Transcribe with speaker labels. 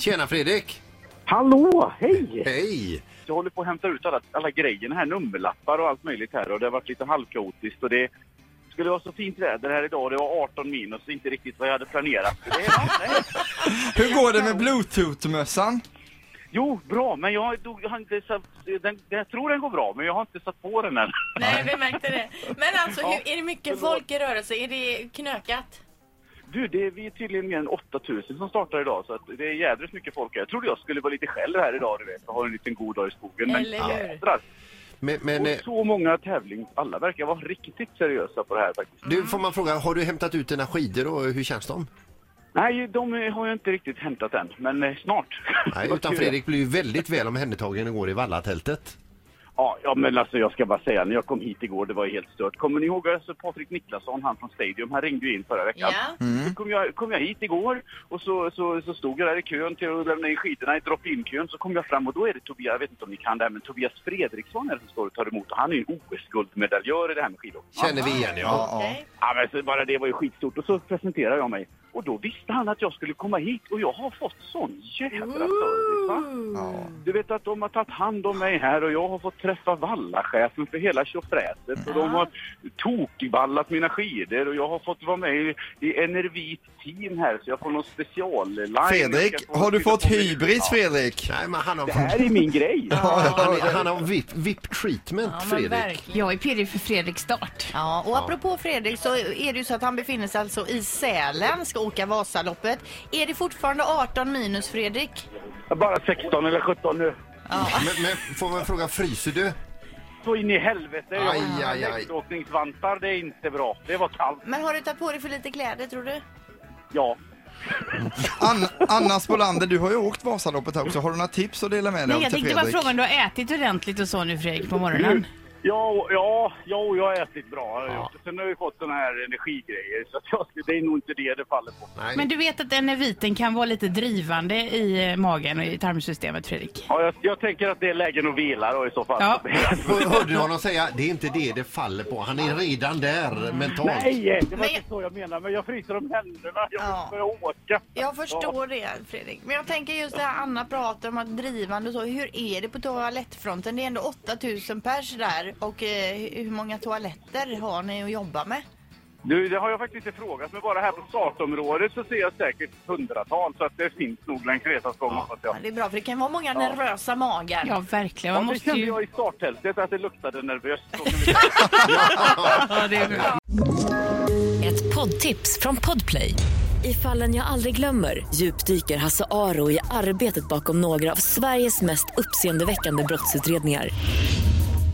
Speaker 1: Tjena Fredrik!
Speaker 2: Hallå, hej!
Speaker 1: Hej!
Speaker 2: Jag håller på att hämta ut alla, alla grejerna här, nummerlappar och allt möjligt här och det har varit lite halvkaotiskt och det skulle vara så fint väder här idag det var 18 minus, inte riktigt vad jag hade planerat. Så Det är, nej.
Speaker 3: Hur går det med bluetooth-mössan?
Speaker 2: Jo, bra, men jag, dog- jag, har inte satt, den, jag tror den går bra, men jag har inte satt på den än.
Speaker 4: Nej, vi märkte det. Men alltså, hur, är det mycket
Speaker 2: förlåt.
Speaker 4: folk i rörelse? Är det knökat?
Speaker 2: Du, det är, vi är tydligen mer än 8000 som startar idag, så att det är jädrigt mycket folk här. Jag trodde jag skulle vara lite själv här idag, du vet, och ha en liten god dag i skogen. Men
Speaker 4: Eller hur?
Speaker 2: jädrar!
Speaker 1: Men, men eh,
Speaker 2: Och så många tävling, alla verkar vara riktigt seriösa på det här faktiskt.
Speaker 1: du, får man fråga, har du hämtat ut dina skidor och hur känns de?
Speaker 2: Nej, de eh, har jag inte riktigt hämtat än, men eh, snart.
Speaker 1: Nej,
Speaker 2: Vad
Speaker 1: utan
Speaker 2: kul.
Speaker 1: Fredrik blev ju väldigt väl omhändertagen igår i vallatältet.
Speaker 2: Ja, ja, men alltså jag ska bara säga, när jag kom hit igår, det var ju helt stört. Kommer ni ihåg alltså Patrik Niklasson, han från Stadium, han ringde ju in förra veckan.
Speaker 4: Ja.
Speaker 2: Så kom jag, kom jag hit igår och så, så, så stod jag där i kön till att lämna in skidorna i drop-in-kön. Så kom jag fram och då är det Tobias, jag vet inte om ni kan det här, men Tobias Fredriksson är det som står och tar emot. Och han är ju en OS-guldmedaljör i det här med skidor.
Speaker 1: Känner vi igen ja.
Speaker 4: Okej.
Speaker 2: Ja, men så bara det var ju skitstort. Och så presenterade jag mig. Och då visste han att jag skulle komma hit och jag har fått sån jädra service va?
Speaker 3: Ja.
Speaker 2: Du vet att de har tagit hand om mig här och jag har fått träffa vallachefen för hela tjofräset och de har tokvallat mina skidor och jag har fått vara med i, i Enervit team här så jag får någon specialline. Jag
Speaker 3: Fredrik,
Speaker 2: ska få-
Speaker 3: har du
Speaker 2: fylla
Speaker 3: fått
Speaker 2: på-
Speaker 3: hybris Fredrik?
Speaker 1: Nej, men han har,
Speaker 2: Det här är min grej!
Speaker 1: han, är- han har VIP, VIP treatment,
Speaker 4: Ja, men
Speaker 1: Fredrik.
Speaker 4: verkligen.
Speaker 5: Jag är pirrig för Fredriks start.
Speaker 6: Ja, och apropå Fredrik så är det ju så att han befinner sig alltså i Sälen, ska åka Vasaloppet. Är det fortfarande 18 minus Fredrik?
Speaker 2: Jag är Bara 16 eller 17 nu.
Speaker 1: Men, men får man fråga, fryser du?
Speaker 2: Så in i helvete!
Speaker 1: Aj, aj, aj.
Speaker 2: Läktåkningsvantar, det är inte bra. Det var kallt.
Speaker 6: Men har du tagit på dig för lite kläder tror du?
Speaker 2: Ja.
Speaker 3: Ann- Anna Spolander, du har ju åkt Vasaloppet här också. Har du några tips att dela med dig
Speaker 5: Nej,
Speaker 3: av
Speaker 5: jag
Speaker 3: till
Speaker 5: tänkte bara
Speaker 3: Fredrik?
Speaker 5: fråga om du har ätit ordentligt och så nu Fredrik på morgonen.
Speaker 2: Ja, ja, ja, jag har ätit bra. Ja. Sen har vi fått såna här energigrejer så att jag, det är nog inte det det faller på.
Speaker 1: Nej.
Speaker 5: Men du vet att den är viten kan vara lite drivande i eh, magen och i tarmsystemet Fredrik.
Speaker 2: Ja, jag, jag tänker att det är lägen att vila då i så fall.
Speaker 5: Ja.
Speaker 1: Hör- Hörde du honom säga, det är inte det det faller på, han är redan där mentalt.
Speaker 2: Nej, det var
Speaker 6: Men-
Speaker 2: inte så jag menade. Men jag fryser om händerna. Jag
Speaker 6: Ja.
Speaker 2: måste börja åka.
Speaker 6: Jag förstår det Fredrik. Men jag tänker just det här Anna pratar om att drivande och så. Hur är det på toalettfronten? Det är ändå 8000 pers där och eh, hur många toaletter har ni att jobba med?
Speaker 2: Du, det har jag faktiskt inte frågat. Men bara här på startområdet så ser jag säkert hundratal. Så att det finns nog längs resans gång. hoppas jag.
Speaker 6: Ja, det är bra för det kan vara många nervösa magar.
Speaker 5: Ja, verkligen. Man
Speaker 2: Ja, det
Speaker 5: måste
Speaker 2: kände
Speaker 5: ju...
Speaker 2: jag i starttältet att det luktade nervöst. Så kan vi säga.
Speaker 5: Ja, det är bra.
Speaker 7: Ett poddtips från Podplay. I fallen jag aldrig glömmer djupdyker Hasse Aro i arbetet bakom några av Sveriges mest uppseendeväckande brottsutredningar.